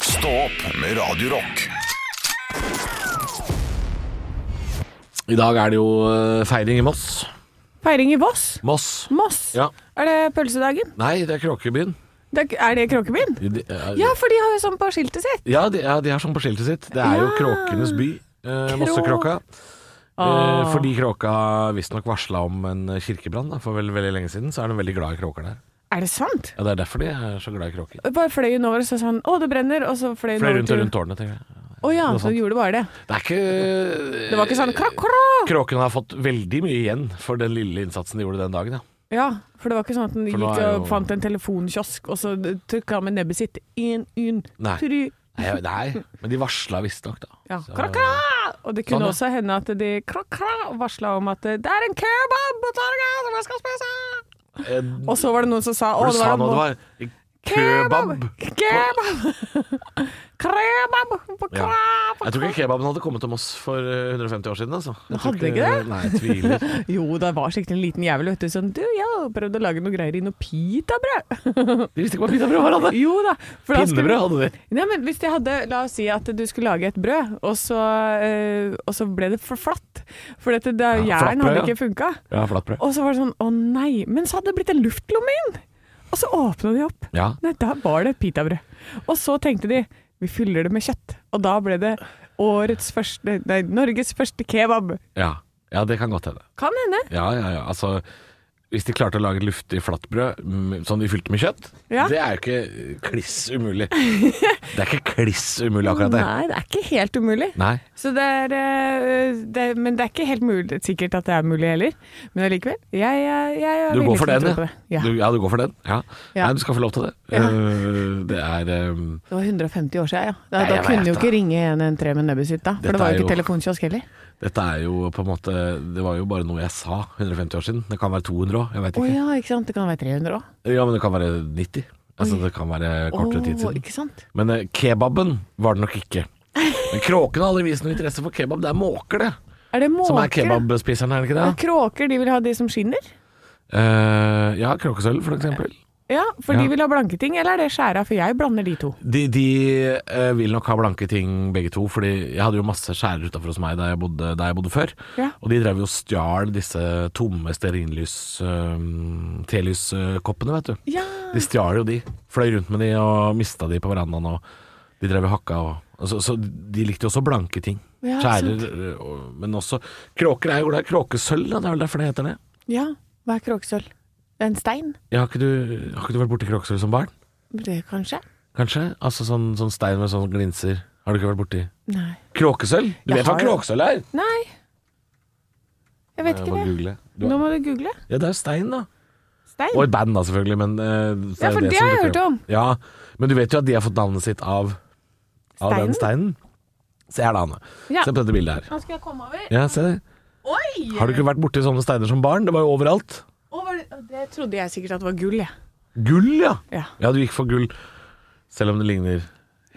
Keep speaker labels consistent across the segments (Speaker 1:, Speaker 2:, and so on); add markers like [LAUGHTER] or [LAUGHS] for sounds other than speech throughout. Speaker 1: Stå opp med Radio Rock.
Speaker 2: I dag er det jo eh, feiring i Moss.
Speaker 3: Feiring i Voss.
Speaker 2: Moss.
Speaker 3: Moss.
Speaker 2: Ja.
Speaker 3: Er det pølsedagen?
Speaker 2: Nei, det er Kråkebyen.
Speaker 3: Det er er det Kråkebyen?
Speaker 2: De- de- eh,
Speaker 3: Ja, for de har jo sånn på skiltet sitt.
Speaker 2: ja, de, ja, de har sånn på skiltet sitt. Det er jo
Speaker 3: Ja.
Speaker 2: kråkenes by. Eh, Mossekråka. Eh,
Speaker 3: Ah.
Speaker 2: fordi kråka visstnok varsla om en kirkebrann da, for veldig, veldig lenge siden, så er de veldig glad i kråker der.
Speaker 3: Er det sant?
Speaker 2: Ja, Det er derfor de er så glad i kråker.
Speaker 3: Bare fløy hun over og så sa sånn Å, det brenner. Og så fløy hun
Speaker 2: Fløy
Speaker 3: over
Speaker 2: rundt og rundt tårnet, tenker jeg.
Speaker 3: Å ja,
Speaker 2: Noe
Speaker 3: så
Speaker 2: sånt.
Speaker 3: hun gjorde bare det.
Speaker 2: Det er ikke eh,
Speaker 3: Det var ikke sånn krakk, krakk.
Speaker 2: Kråkene har fått veldig mye igjen for den lille innsatsen de gjorde den dagen, ja.
Speaker 3: Ja, for det var ikke sånn at hun
Speaker 2: For nå
Speaker 3: gikk
Speaker 2: er jo-
Speaker 3: og fant en telefonkiosk, og så trykka med nebbet sitt en, un,
Speaker 2: Nei.
Speaker 3: try.
Speaker 2: Nei, jeg- nei men de varsla visstnok, da.
Speaker 3: Ja,
Speaker 2: Så-
Speaker 3: krakk, krakk. Og det kunne
Speaker 2: Sånn, ja.
Speaker 3: også hende at de krakk, krakk varsla om at det er en kebab på torget som jeg skal spise!
Speaker 2: Eh,
Speaker 3: Og så var det noen som sa Å,
Speaker 2: For du
Speaker 3: det
Speaker 2: sa
Speaker 3: var
Speaker 2: nå
Speaker 3: en
Speaker 2: det
Speaker 3: mo-
Speaker 2: var kebab.
Speaker 3: [LAUGHS] Kebab! Kebab på
Speaker 2: Ja.
Speaker 3: krab!
Speaker 2: Jeg tror ikke kebaben hadde kommet til Moss for eh, 150 år siden. Altså. Jeg tror
Speaker 3: Hadde ikke det?
Speaker 2: Nei, jeg [LAUGHS] tviler.
Speaker 3: Jo, det var sikkert en liten jævel vet du, som du, jeg har prøvd å lage noe greier i noe pitabrød.
Speaker 2: De visste ikke hva pitabrød var, hadde
Speaker 3: Jo da. for da skulle-
Speaker 2: Pinnebrød hadde de.
Speaker 3: Nei, men hvis de hadde, La oss si at du skulle lage et brød, og så, eh, og så ble det for flatt. For dette, det,
Speaker 2: Ja, flatt
Speaker 3: jern hadde
Speaker 2: brød, ja.
Speaker 3: ikke funka.
Speaker 2: Ja, flatbrød.
Speaker 3: Og så var det sånn Å nei. Men så hadde det blitt en luftlomme inn! Og så åpna de opp.
Speaker 2: Ja.
Speaker 3: Nei, da var det pitabrød. Og så tenkte de vi fyller det med kjøtt. Og da ble det årets første Nei, Norges første kebab.
Speaker 2: Ja. ja, det kan godt hende.
Speaker 3: Kan hende.
Speaker 2: Ja, ja, ja. Altså, hvis de klarte å lage luftig flatbrød mm, sånn de fylte med kjøtt,
Speaker 3: Ja.
Speaker 2: det er jo ikke eh, kliss umulig. Det er ikke kliss umulig, akkurat [LAUGHS] det.
Speaker 3: Nei, det er ikke helt umulig.
Speaker 2: Nei.
Speaker 3: Så det er, eh, det, men det er ikke helt mulig, sikkert at det er mulig heller. Men allikevel. Jeg, jeg, jeg er
Speaker 2: Du går
Speaker 3: villig
Speaker 2: for
Speaker 3: til å
Speaker 2: den,
Speaker 3: tro på
Speaker 2: ja.
Speaker 3: det. ja.
Speaker 2: Du, ja, du går for den. Ja.
Speaker 3: Ja.
Speaker 2: Nei, du skal få lov til det.
Speaker 3: Ja.
Speaker 2: Eh, det er eh,
Speaker 3: Det var 150 år siden, ja. Da,
Speaker 2: Nei,
Speaker 3: da
Speaker 2: jeg
Speaker 3: kunne
Speaker 2: vet
Speaker 3: jo
Speaker 2: det.
Speaker 3: ikke ringe 113 med nebbet sitt da. For
Speaker 2: Dette
Speaker 3: det var
Speaker 2: er
Speaker 3: jo ikke
Speaker 2: jo-
Speaker 3: telefonkiosk heller.
Speaker 2: Dette er jo på en måte Det var jo bare noe jeg sa 150 år siden. Det kan være 200 òg, jeg veit
Speaker 3: Å
Speaker 2: ikke.
Speaker 3: ja, ikke sant. Det kan være 300 òg.
Speaker 2: ja. men det kan være 90. Altså det kan være kortere tid siden.
Speaker 3: ikke sant.
Speaker 2: Men eh, kebaben var det nok ikke. Men Kråkene har aldri vist noe interesse for kebab. Det er måker, det.
Speaker 3: Er det måker?
Speaker 2: Som er kebabspiseren, er det ikke
Speaker 3: Ja.
Speaker 2: det?
Speaker 3: Kråker, de vil ha de som skinner?
Speaker 2: Eh, ja, kråkesølv, for eksempel.
Speaker 3: Ja, for
Speaker 2: Ja.
Speaker 3: de vil ha blanke ting, eller er det skjæra? For jeg blander de to.
Speaker 2: De, de eh, vil nok ha blanke ting begge to, Fordi jeg hadde jo masse skjærer utafor hos meg der jeg bodde, der jeg bodde før.
Speaker 3: Ja.
Speaker 2: Og de drev jo og stjal disse tomme stearinlys... eh, Telyskoppene, vet du.
Speaker 3: Ja.
Speaker 2: De stjal jo de. Fløy rundt med de og mista de på verandaen. Og de drev og hakka og og så, så de likte jo også blanke ting.
Speaker 3: Ja,
Speaker 2: Skjærer. og- Men også Kråker er jo glad i kråkesølv, da. Det er vel derfor det heter det.
Speaker 3: ja. Hva er kråkesølv? En stein?
Speaker 2: Ja, har, ikke du, har ikke du vært borti kråkesølv som barn?
Speaker 3: Det kanskje?
Speaker 2: Kanskje? Altså sånn, sånn stein med sånn glinser. Har du ikke vært borti
Speaker 3: Nei.
Speaker 2: Kråkesølv? Du
Speaker 3: Jeg
Speaker 2: vet hva
Speaker 3: har jo-
Speaker 2: kråkesølv er?
Speaker 3: Nei. Jeg vet
Speaker 2: Jeg
Speaker 3: ikke
Speaker 2: må
Speaker 3: det.
Speaker 2: google. Du,
Speaker 3: Nå må du google.
Speaker 2: ja, det er jo stein, da.
Speaker 3: Stein?
Speaker 2: Og et band, da, selvfølgelig. Men, eh, så
Speaker 3: Ja,
Speaker 2: er
Speaker 3: for det
Speaker 2: som
Speaker 3: har jeg
Speaker 2: dukker
Speaker 3: hørt
Speaker 2: opp.
Speaker 3: om.
Speaker 2: Ja, Men du vet jo at de har fått navnet sitt av, av den
Speaker 3: Steinen?
Speaker 2: steinen? Se her da, Anne.
Speaker 3: Ja.
Speaker 2: Se på dette bildet her.
Speaker 3: Nå skal jeg komme over.
Speaker 2: Ja, se det.
Speaker 3: Oi!
Speaker 2: Har du ikke vært borti sånne steiner som barn? Det var jo overalt.
Speaker 3: Å, var det, det trodde jeg sikkert at det var gull, jeg.
Speaker 2: Gull, ja.
Speaker 3: Ja.
Speaker 2: Ja, du gikk for gull. Selv om det ligner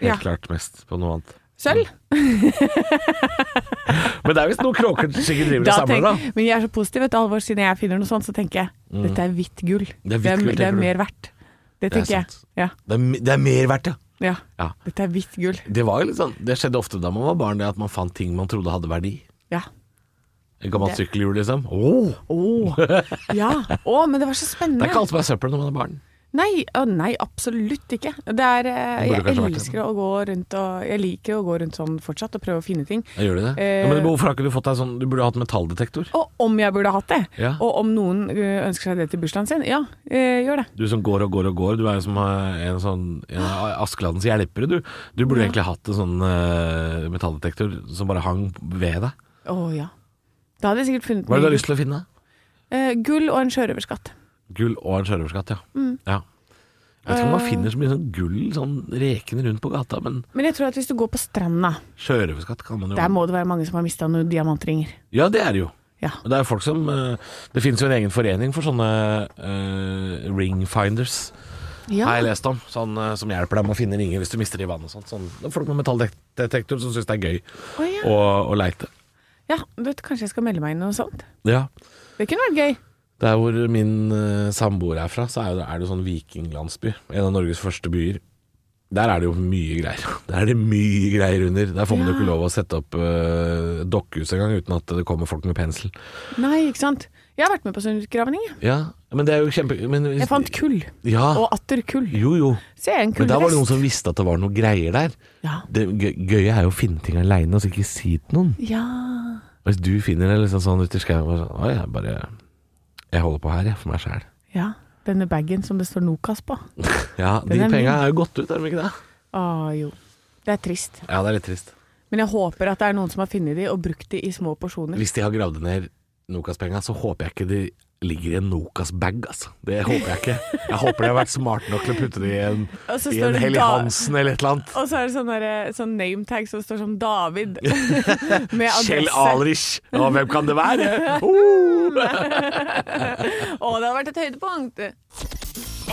Speaker 2: helt
Speaker 3: Ja.
Speaker 2: klart mest på noe annet.
Speaker 3: Sølv?
Speaker 2: Mm. Men det er visst noen kråker sikkert driver og
Speaker 3: Da
Speaker 2: samler, da. Mm.
Speaker 3: tenk- Men jeg er så positiv, vet du, Alvor. Siden jeg finner noe sånt, så tenker jeg dette er hvitt gull.
Speaker 2: er hvitt gull,
Speaker 3: det
Speaker 2: tenker
Speaker 3: er
Speaker 2: du.
Speaker 3: mer verdt. Det
Speaker 2: Det er
Speaker 3: tenker jeg.
Speaker 2: sant.
Speaker 3: Ja,
Speaker 2: Det er, me- det er mer verdt, ja.
Speaker 3: ja.
Speaker 2: Ja.
Speaker 3: Dette er hvitt gull.
Speaker 2: Det, var jo litt sånn, det skjedde ofte da man var barn, det at man fant ting man trodde hadde verdi.
Speaker 3: Ja.
Speaker 2: Et gammelt
Speaker 3: Det-
Speaker 2: sykkelhjul, liksom. Åh,
Speaker 3: Å,
Speaker 2: [LAUGHS]
Speaker 3: ja. Å, men det var så
Speaker 2: Det
Speaker 3: spennende.
Speaker 2: er ikke alt som er søppel når man er barn.
Speaker 3: Nei, å nei, absolutt ikke. Det er,
Speaker 2: Det burde
Speaker 3: eh, jeg
Speaker 2: kanskje vært det.
Speaker 3: elsker å gå rundt og Jeg liker å gå rundt sånn fortsatt og prøve å finne ting.
Speaker 2: Ja, Gjør du det?
Speaker 3: Eh.
Speaker 2: ja, men hvorfor har ikke du fått deg sånn Du burde hatt metalldetektor.
Speaker 3: Og om jeg burde hatt det,
Speaker 2: Ja.
Speaker 3: og om noen eh, ønsker seg det til bursdagen sin, ja, eh, gjør det.
Speaker 2: Du som går og går og går. Du er jo som eh, en sånn en av Askeladdens hjelpere, du. Du burde egentlig hatt en sånn eh, metalldetektor som bare hang ved deg.
Speaker 3: Å ja. Da hadde jeg sikkert funnet
Speaker 2: Hva er det du
Speaker 3: mye
Speaker 2: har lyst til å finne?
Speaker 3: Eh, gull og en sjørøverskatt.
Speaker 2: Gull og en sjørøverskatt, ja.
Speaker 3: Mm.
Speaker 2: ja. Jeg vet ikke om
Speaker 3: Eh.
Speaker 2: man finner så mye sånn gull sånn rekende rundt på gata, men
Speaker 3: Men jeg tror at hvis du går på stranda,
Speaker 2: sjørøverskatt kan man jo
Speaker 3: der må det være mange som har mista noen diamantringer.
Speaker 2: Ja, det er det jo.
Speaker 3: Ja.
Speaker 2: Og Det er jo folk som eh, Det finnes jo en egen forening for sånne eh, ring finders.
Speaker 3: ja.
Speaker 2: Har jeg lest om. Sånn eh, som hjelper deg med å finne ringer hvis du mister de i vannet og sånt. Sånn, det er folk med metalldetektor som syns det er gøy
Speaker 3: Å, ja.
Speaker 2: å, å leite.
Speaker 3: ja, du vet, kanskje jeg skal melde meg inn i noe sånt.
Speaker 2: Ja.
Speaker 3: Det kunne vært gøy.
Speaker 2: Der hvor min eh, samboer er fra, så er det, er det sånn vikinglandsby. En av Norges første byer. Der er det jo mye greier. [LAUGHS] Der er det mye greier under. Der får man jo ikke lov å sette opp uh, dokkehus engang uten at det kommer folk med pensel.
Speaker 3: Nei, ikke sant. Jeg har vært med på sånn utgravning. jeg.
Speaker 2: Ja, men det er jo kjempe... Men, hvis- Ah.
Speaker 3: Jeg fant kull.
Speaker 2: Ja,
Speaker 3: Og atter kull.
Speaker 2: jo jo.
Speaker 3: Se, en
Speaker 2: Men da var det noen
Speaker 3: kulldress.
Speaker 2: som visste at det var noe greier der.
Speaker 3: Ja.
Speaker 2: Det gø- gøye er jo å finne ting aleine og så ikke si til noen.
Speaker 3: ja.
Speaker 2: Hvis du finner det liksom sånn ute i skauen bare sånn, «Oi, jeg bare Jeg holder på her, jeg, for meg sjæl.
Speaker 3: Ja. Denne bagen som det står Nokas på.
Speaker 2: Ja, de
Speaker 3: Den er min.
Speaker 2: penga er jo gått ut, er de ikke det?
Speaker 3: Å Ah, jo. Det er trist.
Speaker 2: Ja, det er litt trist.
Speaker 3: Men jeg håper at det er noen som har funnet de og brukt de i små porsjoner.
Speaker 2: Hvis de har gravd ned Nokas-penga, så håper jeg ikke de ligger i en Nokas-bag, altså. Det håper jeg ikke. Jeg håper de har vært smarte nok til å putte det i en,
Speaker 3: Og så
Speaker 2: i
Speaker 3: står
Speaker 2: en
Speaker 3: det
Speaker 2: Helly
Speaker 3: da-
Speaker 2: Hansen eller et eller annet.
Speaker 3: Og så er det sånn, der, sånn nametag som står som
Speaker 2: [LAUGHS]
Speaker 3: David. med adresse.
Speaker 2: Kjell Alrich! Og hvem kan det
Speaker 3: [LAUGHS]
Speaker 2: være? Uh!
Speaker 3: Å, det hadde vært et høydepunkt!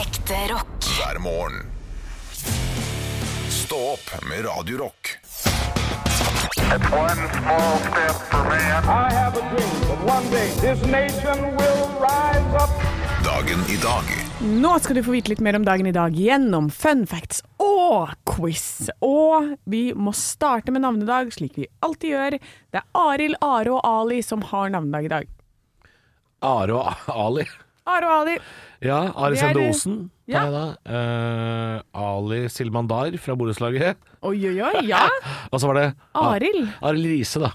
Speaker 4: Ekte rock.
Speaker 1: hver morgen. Stå opp med Radio Rock.
Speaker 5: It's one small step for man.
Speaker 6: I have a dream that one day this nation will rise up.
Speaker 1: Dagen i dag
Speaker 3: Nå skal du få vite litt mer om dagen i dag gjennom fun facts og quiz. Og vi må starte med navnedag, slik vi alltid gjør. Det er Arild, Are og Ali som har navnedag i dag.
Speaker 2: Are og Ali.
Speaker 3: Are og Ali.
Speaker 2: Ja, Are
Speaker 3: Det er-
Speaker 2: Sende Osen.
Speaker 3: ja.
Speaker 2: tar jeg da. Eh, Ali Silmandar fra borettslaget.
Speaker 3: Oi, oi, oi.
Speaker 2: [LAUGHS]
Speaker 3: Ja.
Speaker 2: Og så var det
Speaker 3: Arild.
Speaker 2: Arild Riise, da.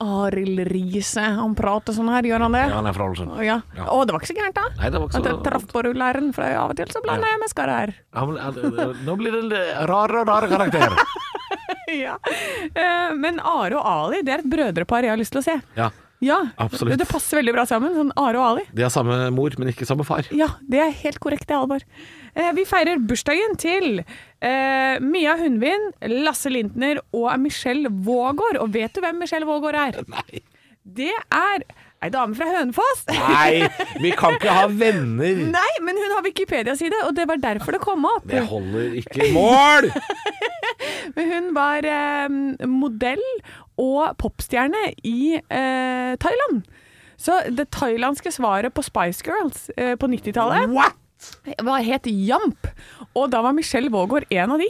Speaker 3: Arild Riise. Han prater sånn her, gjør han det?
Speaker 2: Ja, han er fra Ålesund.
Speaker 3: Å, Ja.
Speaker 2: Ja.
Speaker 3: Å, det var ikke så gærent, da.
Speaker 2: Nei, det var ikke
Speaker 3: At
Speaker 2: så-
Speaker 3: jeg traff på rulleren, for av og til så blander jeg med skarre her. [LAUGHS]
Speaker 2: Ja, men, eh, eh, Nå blir det en rar og rar karakter.
Speaker 3: [LAUGHS] Ja. Eh, Men Are og Ali, det er et brødrepar jeg har lyst til å se.
Speaker 2: Ja,
Speaker 3: Ja,
Speaker 2: Absolutt.
Speaker 3: Det passer veldig bra sammen. Sånn Are og Ali.
Speaker 2: De har samme mor, men ikke samme far.
Speaker 3: Ja, det er helt korrekt, det, Alvor. Eh, Vi feirer bursdagen til eh, Mia Hundvin, Lasse Lintner og Michelle Vågård. Og vet du hvem Michelle Vågård er?
Speaker 2: Nei.
Speaker 3: Det er ei dame fra Hønefoss.
Speaker 2: Nei, vi kan ikke ha venner.
Speaker 3: Nei, men hun har Wikipedia-side, og det var derfor det kom opp.
Speaker 2: Det holder ikke mål!
Speaker 3: Men hun var eh, modell og popstjerne i eh, Thailand. Så det thailandske svaret på Spice Girls eh, på 90-tallet
Speaker 2: What?
Speaker 3: var het Jamp. Og da var Michelle Vågård en av de.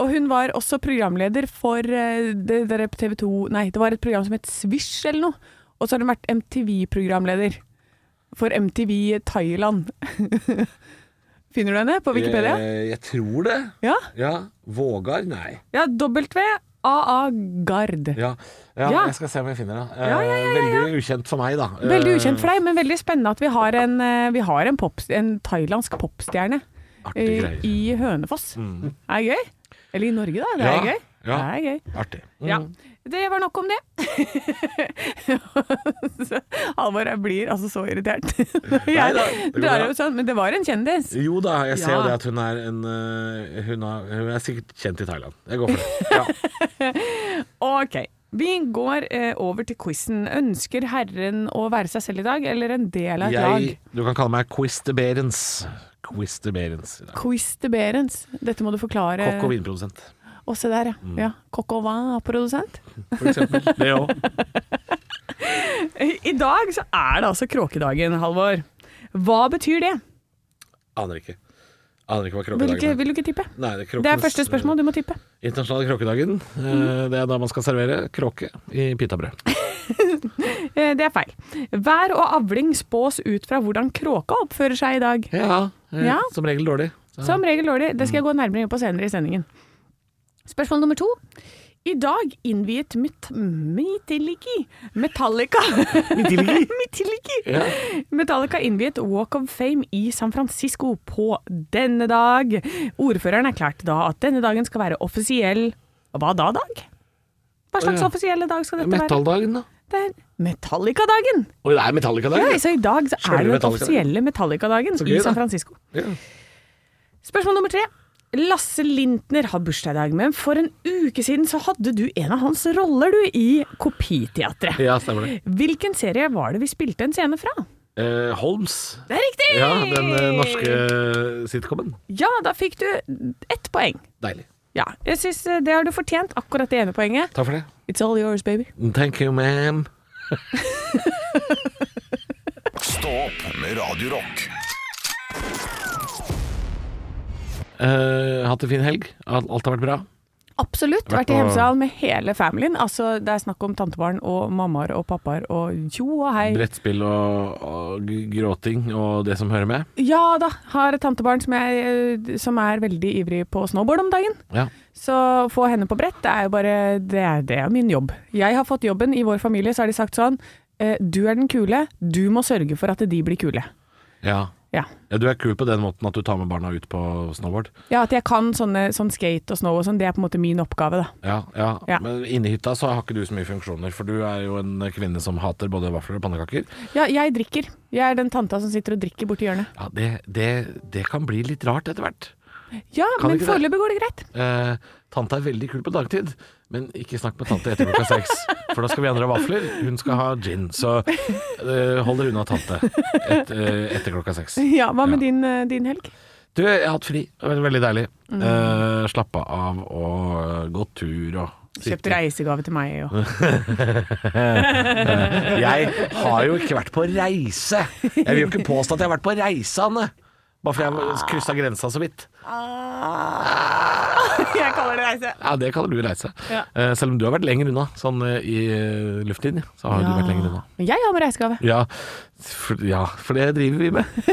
Speaker 3: Og hun var også programleder for eh, det der TV 2 Nei, det var et program som het Swish eller noe. Og så har hun vært MTV-programleder for MTV Thailand. [LAUGHS] Finner du henne på Wikipedia?
Speaker 2: Eh, Jeg, jeg tror det.
Speaker 3: Ja.
Speaker 2: Ja. Vågar? Nei.
Speaker 3: ja W.A.A. Gard.
Speaker 2: Ja. Ja,
Speaker 3: Ja.
Speaker 2: Jeg skal se om jeg finner det. Eh,
Speaker 3: Ja, ja, ja, ja, ja.
Speaker 2: Veldig ukjent for meg, da.
Speaker 3: Veldig
Speaker 2: Eh,
Speaker 3: ukjent for deg, men veldig spennende at vi har en, eh, vi har en, pop, en thailandsk popstjerne
Speaker 2: Artige
Speaker 3: eh,
Speaker 2: greier. Mm.
Speaker 3: i Hønefoss. Er det gøy? Eller i Norge, da. Det
Speaker 2: Ja,
Speaker 3: er gøy.
Speaker 2: ja.
Speaker 3: Det er gøy.
Speaker 2: Artig.
Speaker 3: Ja. Det var nok om det. [LAUGHS] Så Halvor jeg blir altså så irritert. [LAUGHS] Jeg
Speaker 2: Neida, det går
Speaker 3: drar
Speaker 2: bra.
Speaker 3: jo sånn, men det var en kjendis.
Speaker 2: Jo da, jeg ser jo
Speaker 3: Ja.
Speaker 2: det at hun er en eh, hun, har, hun er sikkert kjent i Thailand. Jeg går
Speaker 3: [LAUGHS]
Speaker 2: for det. Ja.
Speaker 3: Ok, vi går eh, over til quizen. Ønsker herren å være seg selv i dag, eller en del av et lag?
Speaker 2: Jeg, du kan kalle meg Quisterberens. Quisterberens. i dag.
Speaker 3: Quiz de Berens. Dette må du forklare.
Speaker 2: Kokk og Mm. vinprodusent,
Speaker 3: Å, se der, ja. ja. Kokk og hva, produsent?
Speaker 2: for
Speaker 3: [LAUGHS]
Speaker 2: eksempel. Det òg.
Speaker 3: I dag så er det altså kråkedagen, Halvor. Hva betyr det?
Speaker 2: Aner ikke. Aner ikke hva
Speaker 3: Vil du ikke,
Speaker 2: krokedagen er.
Speaker 3: vil du ikke tippe?
Speaker 2: Nei, det,
Speaker 3: Det er første spørsmål, du må tippe.
Speaker 2: Internasjonale kråkedagen. Eh, Det er da man skal servere kråke i pitabrød.
Speaker 3: Eh, Det er feil. Vær og avling spås ut fra hvordan kråka oppfører seg i dag.
Speaker 2: Ja, eh,
Speaker 3: Ja.
Speaker 2: Som regel dårlig. Så-
Speaker 3: Som regel dårlig. Det skal
Speaker 2: Mm.
Speaker 3: jeg gå nærmere inn på senere i sendingen. Spørsmål nummer to. I dag innviet mit Mitiliki Metallica Mitiliki?
Speaker 2: Ja.
Speaker 3: Metallica innviet Walk of Fame i San Francisco på denne dag. Ordføreren erklærte da at denne dagen skal være offisiell Hva da, Dag? Hva
Speaker 2: Å,
Speaker 3: slags
Speaker 2: ja.
Speaker 3: offisielle dag skal dette være?
Speaker 2: Metalldagen, da.
Speaker 3: Det er Metallica-dagen!
Speaker 2: Oi, det er Metallica-dagen!
Speaker 3: Ja, så i dag så
Speaker 2: Selve
Speaker 3: er det den
Speaker 2: Metallica-dagen.
Speaker 3: offisielle Metallica-dagen
Speaker 2: Så gøy,
Speaker 3: i San
Speaker 2: da.
Speaker 3: Francisco.
Speaker 2: Ja.
Speaker 3: Spørsmål nummer tre. Lasse Lintner har bursdag i dag, men for en uke siden så hadde du en av hans roller du i Kopiteatret.
Speaker 2: Ja, stemmer det.
Speaker 3: Hvilken serie var det vi spilte en scene fra?
Speaker 2: Eh, Holmes.
Speaker 3: Det er riktig!
Speaker 2: Ja, den eh, norske eh, sitcomen.
Speaker 3: Ja, da fikk du ett poeng.
Speaker 2: Deilig.
Speaker 3: Ja, jeg synes eh, det har du fortjent, akkurat det ene poenget.
Speaker 2: Takk for det.
Speaker 3: It's all yours, baby.
Speaker 2: Thank you, ma'am.
Speaker 1: Stå opp med Radio Rock.
Speaker 2: Eh, eh, hatt en fin helg. Alt alt har vært bra.
Speaker 3: Absolutt.
Speaker 2: Vært
Speaker 3: Vært i
Speaker 2: på-
Speaker 3: Hemsedal med hele familien. Altså, det er snakk om tantebarn og mammaer og pappaer og tjo og hei.
Speaker 2: Brettspill og, og g- gråting og det som hører med.
Speaker 3: Ja da, har et tantebarn som, jeg, eh, som er veldig ivrig på snowboard om dagen.
Speaker 2: Ja.
Speaker 3: Så å få henne på brett, det er jo bare det er, det er min jobb. Jeg har fått jobben i vår familie, så har de sagt sånn eh, Du er den kule, du må sørge for at de blir kule.
Speaker 2: Ja.
Speaker 3: Ja.
Speaker 2: ja. Du er kul på den måten at du tar med barna ut på snowboard.
Speaker 3: ja at jeg kan sånne, sånn skate og snow og sånn, det er på en måte min oppgave, da.
Speaker 2: Ja, ja.
Speaker 3: Ja.
Speaker 2: Men inni hytta så har ikke du så mye funksjoner, for du er jo en kvinne som hater både vafler og pannekaker.
Speaker 3: Ja, jeg drikker. Jeg er den tanta som sitter og drikker borti hjørnet.
Speaker 2: Ja, det, det, det kan bli litt rart etter hvert.
Speaker 3: Ja,
Speaker 2: Kan
Speaker 3: men
Speaker 2: ikke det?
Speaker 3: foreløpig går det greit. [LAUGHS]
Speaker 2: Eh, tante er veldig kul på dagtid, men ikke snakk med tante etter klokka seks. For da skal vi andre ha vafler, hun skal ha gin. Så eh, hold dere unna tante et, eh, etter klokka seks.
Speaker 3: Ja, Hva med
Speaker 2: Ja.
Speaker 3: din, eh, din helg?
Speaker 2: Du, jeg har hatt fri. Det har vært Veldig deilig.
Speaker 3: Mm.
Speaker 2: Eh, Slappa av og eh, gått tur og
Speaker 3: Kjøpt reisegave til meg
Speaker 2: [LAUGHS]
Speaker 3: og
Speaker 2: Jeg har jo ikke vært på reise. Jeg vil jo ikke påstå at jeg har vært på reise, Anne. Bare fordi jeg kryssa grensa så vidt.
Speaker 3: Ah! [LAUGHS] Jeg kaller det reise.
Speaker 2: Ja, det kaller du reise.
Speaker 3: Ja.
Speaker 2: Eh, Selv om du har vært lenger unna, sånn eh, i eh, luftlinje, så har du vært lenger unna.
Speaker 3: Men jeg har med
Speaker 2: [LAUGHS]
Speaker 3: reisegave.
Speaker 2: Ja for, ja, for det driver vi med.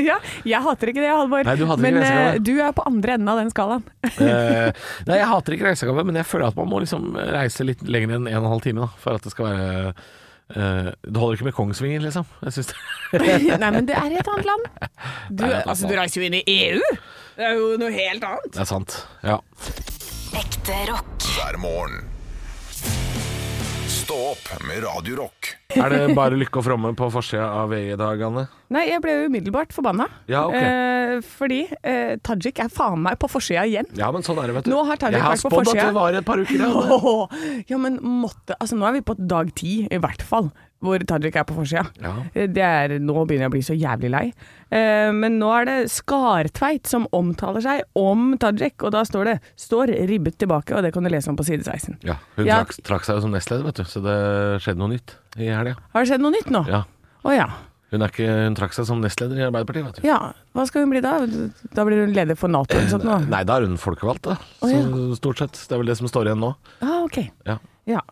Speaker 3: Ja, jeg hater ikke det, Halvor.
Speaker 2: Nei, du hater ikke
Speaker 3: men
Speaker 2: reisegave.
Speaker 3: eh, du er på andre enden av den skalaen. [LAUGHS]
Speaker 2: Eh, nei, jeg hater ikke reisegave, men jeg føler at man må liksom reise litt lenger enn en og en halv time da, for at det skal være eh, Det holder ikke med Kongsvinger, liksom. Jeg synes det.
Speaker 3: Nei, men det er i et annet land. Du,
Speaker 2: Nei, [LAUGHS] det er et annet
Speaker 3: altså, du
Speaker 2: land.
Speaker 3: reiser jo inn i EU! Det er jo noe helt annet.
Speaker 2: det er sant. Ja.
Speaker 4: Ekte rock.
Speaker 1: hver morgen. Stå opp med Radio Rock.
Speaker 2: Er det bare lykke og fromme på forsida av VG i dag, Anne?
Speaker 3: Nei, jeg ble jo umiddelbart forbanna.
Speaker 2: Ja, ok.
Speaker 3: eh, fordi eh, Tajik er faen meg på forsida
Speaker 2: [LAUGHS]
Speaker 3: igjen.
Speaker 2: Ja, men sånn er det, vet du.
Speaker 3: Nå har Tajik
Speaker 2: jeg har
Speaker 3: vært på
Speaker 2: spådd at
Speaker 3: forsida.
Speaker 2: det var et par
Speaker 3: [LAUGHS]
Speaker 2: uker igjen.
Speaker 3: Åh, ja, men måtte Altså, nå er vi på dag ti, i hvert fall, hvor Tajik er på forsida. Eh,
Speaker 2: Ja.
Speaker 3: Det er, nå begynner jeg å bli så jævlig lei. Eh, men nå er det Skartveit som omtaler seg om Tajik, og da står det 'står ribbet tilbake', og det kan du lese om på side 16.
Speaker 2: Ja, hun
Speaker 3: Ja.
Speaker 2: Trakk, trakk seg jo som nestleder, vet du, så det skjedde noe nytt i helga.
Speaker 3: Har det skjedd noe nytt nå? Å
Speaker 2: Ja.
Speaker 3: ja.
Speaker 2: Hun, er ikke, hun trakk seg som nestleder i Arbeiderpartiet, vet du.
Speaker 3: Ja, hva skal hun bli da? Da blir hun leder for Nato eller sånt nå?
Speaker 2: Nei, da er hun folkevalgt, da. Så,
Speaker 3: Å,
Speaker 2: Stort sett. Det er vel det som står igjen nå.
Speaker 3: Ah, ok.
Speaker 2: Ja.
Speaker 3: Ja.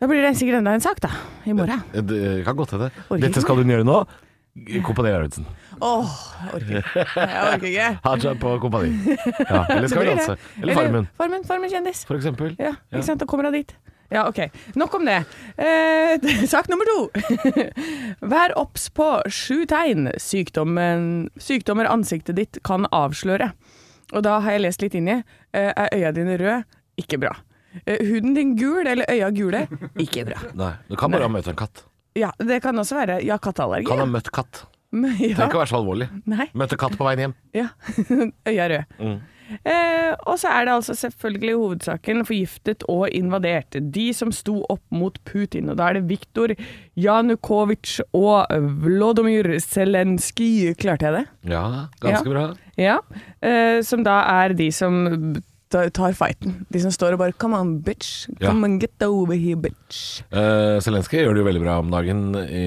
Speaker 3: Da blir det sikkert enda en sak da, i morgen.
Speaker 2: Det kan godt hende.
Speaker 3: Orker ikke.
Speaker 2: Dette skal hun gjøre nå. Kompani Arvidsen.
Speaker 3: Åh, jeg orker ikke. Jeg orker
Speaker 2: [LAUGHS]
Speaker 3: ikke.
Speaker 2: Haja på Kompani.
Speaker 3: [LAUGHS]
Speaker 2: Ja, eller Skal vi
Speaker 3: Det blir det.
Speaker 2: danse? Eller Farmen,
Speaker 3: Farmen, farmen kjendis.
Speaker 2: for eksempel.
Speaker 3: Ja,
Speaker 2: Ja.
Speaker 3: ikke sant? Da kommer hun dit. Ja, ok. Nok om det. Eh, [LAUGHS] sak nummer to. Vær obs på sju tegn sykdommen, sykdommer ansiktet ditt kan avsløre. Og da har jeg lest litt inni. Eh, er øya dine røde? Ikke bra. Eh, huden din gul eller
Speaker 2: [LAUGHS]
Speaker 3: øya gule? Ikke bra.
Speaker 2: Nei, du kan bare ha møtt en katt.
Speaker 3: Ja, det kan også være ja, katteallergi.
Speaker 2: Kan ha møtt katt.
Speaker 3: Men [LAUGHS] ja,
Speaker 2: Trenger ikke å være så alvorlig.
Speaker 3: nei,
Speaker 2: Møtte katt på veien hjem.
Speaker 3: ja. [LAUGHS] Øya rød.
Speaker 2: Mm.
Speaker 3: Eh, og så er det altså selvfølgelig hovedsaken forgiftet og invadert. De som sto opp mot Putin, og da er det Viktor Janukovitsj og Vlodomyr Zelenskyj, klarte jeg det?
Speaker 2: Ja, ganske bra.
Speaker 3: Ja. Eh, som da er de som ta- tar fighten. De som står og bare Come on, bitch.
Speaker 2: Ja.
Speaker 3: Come on, get over here, bitch.
Speaker 2: Uh, Zelenskyj gjør det jo veldig bra om dagen i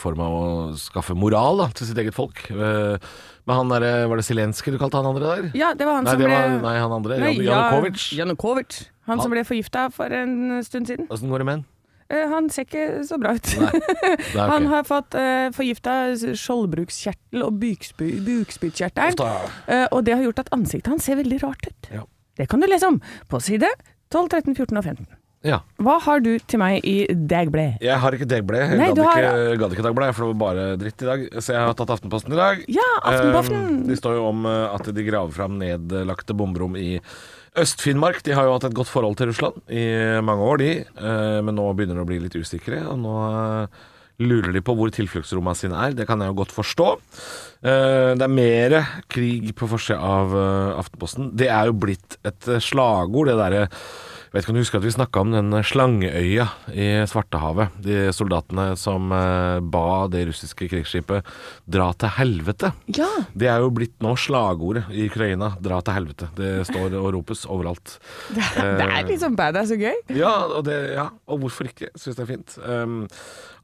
Speaker 2: form av å skaffe moral da, til sitt eget folk. Eh, men han derre Var det Zelenskyj du kalte han andre der?
Speaker 3: Ja, det var han
Speaker 2: nei,
Speaker 3: som
Speaker 2: det
Speaker 3: ble
Speaker 2: var, nei, han andre.
Speaker 3: Nei,
Speaker 2: Jan-
Speaker 3: ja,
Speaker 2: Janukovitsj.
Speaker 3: Janukovitsj. Han som ble forgifta for en stund siden.
Speaker 2: Åssen går det med han?
Speaker 3: Eh, han ser ikke så bra ut.
Speaker 2: Det er
Speaker 3: Han
Speaker 2: ok.
Speaker 3: har fått uh, forgifta skjoldbrukskjertel og bukspy- bukspyttkjertelen.
Speaker 2: Ofte-
Speaker 3: eh, og det har gjort at ansiktet hans ser veldig rart ut.
Speaker 2: Ja.
Speaker 3: Det kan du lese om på side 12, 13, 14 og 15.
Speaker 2: ja.
Speaker 3: Hva har du til meg i Dagbladet?
Speaker 2: Jeg har ikke Dagbladet. Jeg
Speaker 3: Nei,
Speaker 2: gadd
Speaker 3: du har-
Speaker 2: ikke, gadd ikke Dagbladet, for det var bare dritt i dag. Så jeg har tatt Aftenposten i dag.
Speaker 3: Ja, Aftenposten!
Speaker 2: Eh, det står jo om eh, at de graver fram nedlagte bomberom i Øst-Finnmark. De har jo hatt et godt forhold til Russland i mange år, de. Eh, men nå begynner de å bli litt usikre. Og nå eh, lurer de på hvor tilfluktsrommene sine er. Det kan jeg jo godt forstå. Eh, det er mer krig på forsida av eh, Aftenposten. Det er jo blitt et eh, slagord, det derre jeg vet ikke om du husker at vi snakka om den slangeøya i Svartehavet. De soldatene som eh, ba det russiske krigsskipet dra til helvete.
Speaker 3: Ja,
Speaker 2: Det er jo blitt nå slagordet i Ukraina. Dra til helvete. Det står og ropes overalt.
Speaker 3: det, det er liksom badass og gøy.
Speaker 2: Ja, og, det, ja, og hvorfor ikke? Syns det er fint. Um, Ehm,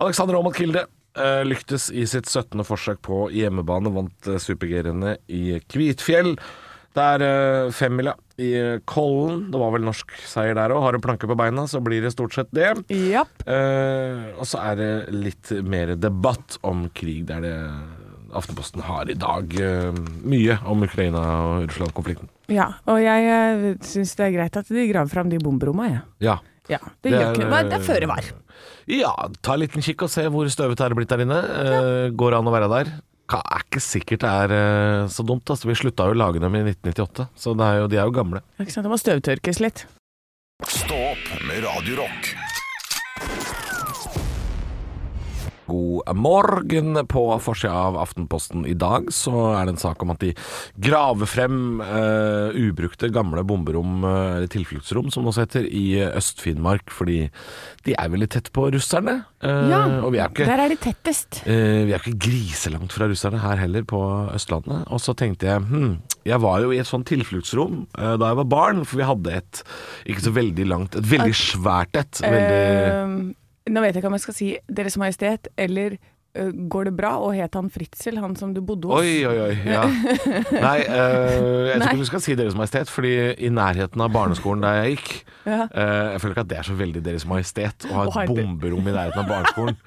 Speaker 2: Alexander Aamodt Kilde eh, lyktes i sitt 17. forsøk på hjemmebane, vant eh, Super-G-rennet i Kvitfjell. Det er eh, femmila i eh, Kollen. Det var vel norsk seier der òg. Har du planke på beina, så blir det stort sett det.
Speaker 3: Japp.
Speaker 2: Eh, og så er det litt mer debatt om krig. Det er det Aftenposten har i dag. eh, mye om Ukraina og Russland-konflikten.
Speaker 3: Ja, og jeg syns det er greit at de graver fram de bomberomma, jeg.
Speaker 2: Ja.
Speaker 3: Ja, det, gjør ikke noe. Men Det er føre var.
Speaker 2: Ja, ta en liten kikk og se hvor støvete er det blitt der inne. Eh, Går det an å være der? Ka- Er ikke sikkert det er eh, så dumt. Altså. Vi slutta jo å lage dem i 1998, så det er jo, de er jo gamle.
Speaker 3: Ikke sant? Det må støvtørkes litt.
Speaker 1: Stå opp med Radio Rock.
Speaker 2: God morgen. På forsida av Aftenposten i dag så er det en sak om at de graver frem eh, ubrukte gamle bomberom, eh, eller tilfluktsrom som det også heter, i eh, Øst-Finnmark. Fordi de er veldig tett på russerne. eh, og vi er jo ikke
Speaker 3: Der er de tettest.
Speaker 2: Eh, vi er ikke griselangt fra russerne her heller på Østlandet. Og så tenkte jeg hm, jeg var jo i et sånt tilfluktsrom eh, da jeg var barn, for vi hadde et ikke så veldig langt Et veldig svært et. Veldig
Speaker 3: Eh, nå vet jeg ikke om jeg skal si Deres Majestet eller eh, Går det bra? Og het han Fritzel, han som du bodde hos?
Speaker 2: Oi, oi, oi. Ja. Nei, eh, jeg tror ikke du skal si Deres Majestet, fordi i nærheten av barneskolen der jeg gikk
Speaker 3: Ja.
Speaker 2: eh, Jeg føler ikke at det er så veldig Deres Majestet å ha
Speaker 3: Å ha
Speaker 2: et
Speaker 3: et-
Speaker 2: bomberom i nærheten av
Speaker 3: [LAUGHS]
Speaker 2: barneskolen.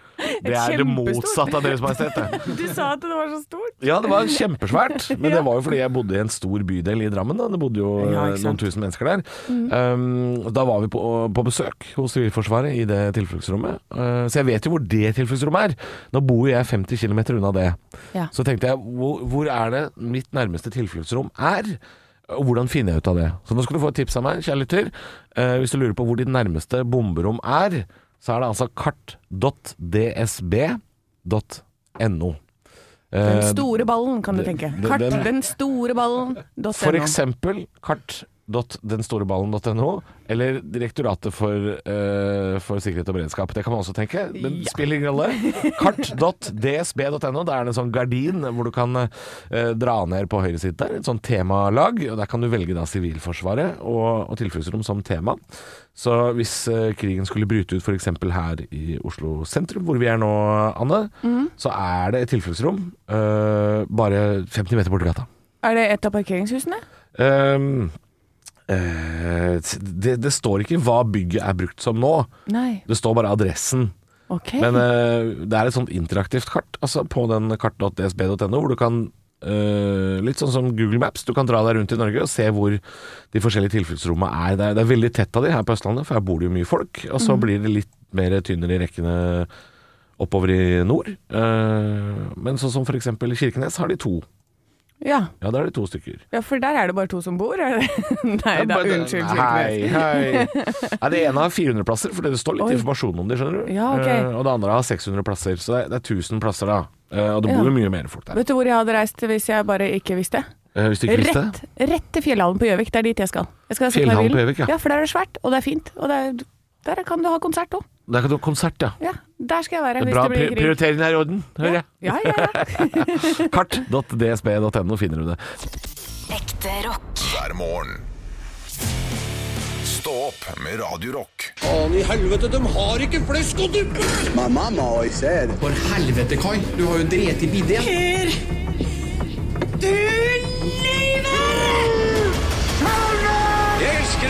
Speaker 2: Det er det
Speaker 3: kjempestort.
Speaker 2: motsatte av Deres Majestet. Det.
Speaker 3: [LAUGHS] Du sa at det var så stort.
Speaker 2: Ja, det
Speaker 3: [LAUGHS]
Speaker 2: var kjempesvært. Men det var jo fordi jeg bodde i en stor bydel i Drammen. Da. Det bodde jo eh,
Speaker 3: Ja, ikke
Speaker 2: noen
Speaker 3: sant. Mm.
Speaker 2: tusen mennesker der. Um, da var vi på, på besøk hos Sivilforsvaret i det tilfluktsrommet. Uh, så jeg vet jo hvor det tilfluktsrommet er. Nå bor jo jeg 50 km unna det.
Speaker 3: Ja.
Speaker 2: Så tenkte jeg, hvor, hvor er det mitt nærmeste tilfluktsrom er? Og hvordan finner jeg ut av det? Så nå skal du få et tips av meg, kjære lytter. Eh, hvis du lurer på hvor ditt nærmeste bomberom er, så er det altså kart.dsb.no.
Speaker 3: Den
Speaker 2: Eh,
Speaker 3: store ballen, kan du
Speaker 2: det-
Speaker 3: tenke.
Speaker 2: det-
Speaker 3: Kart,
Speaker 2: den-
Speaker 3: den store ballen. .no.
Speaker 2: For eksempel kart.denstoreballen.no, eller Direktoratet for, eh, for sikkerhet og beredskap. Det kan man også tenke, men
Speaker 3: Ja.
Speaker 2: spiller ingen
Speaker 3: [LAUGHS]
Speaker 2: rolle. Kart.dsb.no, der er det en sånn gardin hvor du kan eh, dra ned på høyre side der, et sånt temalag, og der kan du velge da Sivilforsvaret og, og tilfluktsrom som tema. Så hvis eh, krigen skulle bryte ut f.eks. her i Oslo sentrum, hvor vi er nå, Anne,
Speaker 3: Mhm.
Speaker 2: så er det et tilfluktsrom eh, bare 50 meter borti gata.
Speaker 3: Er det et av parkeringshusene?
Speaker 2: Ehm, eh, det, det står ikke hva bygget er brukt som nå.
Speaker 3: Nei.
Speaker 2: Det står bare adressen.
Speaker 3: Ok.
Speaker 2: Men eh, det er et sånt interaktivt kart altså på den kart.dsb.no, hvor du kan eh, litt sånn som Google Maps. Du kan dra deg rundt i Norge og se hvor de forskjellige tilfluktsrommene er. Det er, det er veldig tett av de her på Østlandet, for her bor det jo mye folk. Og så blir det litt mer tynnere i rekkene oppover i nord. Eh, men sånn som f.eks. i Kirkenes har de to.
Speaker 3: ja.
Speaker 2: Ja, der er de to stykker.
Speaker 3: ja, for der er det bare to som bor, er det? [LAUGHS] Nei
Speaker 2: Ja, eh,
Speaker 3: da,
Speaker 2: bare det-
Speaker 3: unnskyld.
Speaker 2: Hei,
Speaker 3: Kirkenes.
Speaker 2: hei.
Speaker 3: [LAUGHS]
Speaker 2: Nei, det ene har 400 plasser, for det står litt
Speaker 3: Oi.
Speaker 2: informasjon om det, skjønner du.
Speaker 3: Ja, ok.
Speaker 2: Eh, Og det andre har 600 plasser, så det er, det er 1000 plasser da. Eh, og det bor jo mye mer folk der.
Speaker 3: Vet du hvor jeg hadde reist hvis jeg bare ikke visste?
Speaker 2: Eh, hvis du ikke visste
Speaker 3: Rett,
Speaker 2: det.
Speaker 3: rett til Fjellhallen på Gjøvik. Det er dit jeg skal. Jeg skal sette meg i
Speaker 2: Fjellhallen på
Speaker 3: bilen.
Speaker 2: Gjøvik, ja.
Speaker 3: ja. For der er det svært, og det er fint. Og det er, der kan du ha konsert òg.
Speaker 2: Der kan du ha konsert, ja.
Speaker 3: Ja, der skal jeg være
Speaker 2: Det er
Speaker 3: hvis
Speaker 2: bra
Speaker 3: det
Speaker 2: pri-
Speaker 3: blir krig.
Speaker 2: prioritering her i orden, hører jeg.
Speaker 3: Ja, ja,
Speaker 2: [LAUGHS]
Speaker 3: ja.
Speaker 2: Kart.dsb.no finner du det.
Speaker 4: Ekte rock.
Speaker 1: hver morgen. Stå opp med Radio Rock.
Speaker 7: Faen i helvete, de har ikke flesk og duppe!
Speaker 8: My mama always said,
Speaker 7: For helvete, Kai. Du har jo drept i bidé. Jeg elsker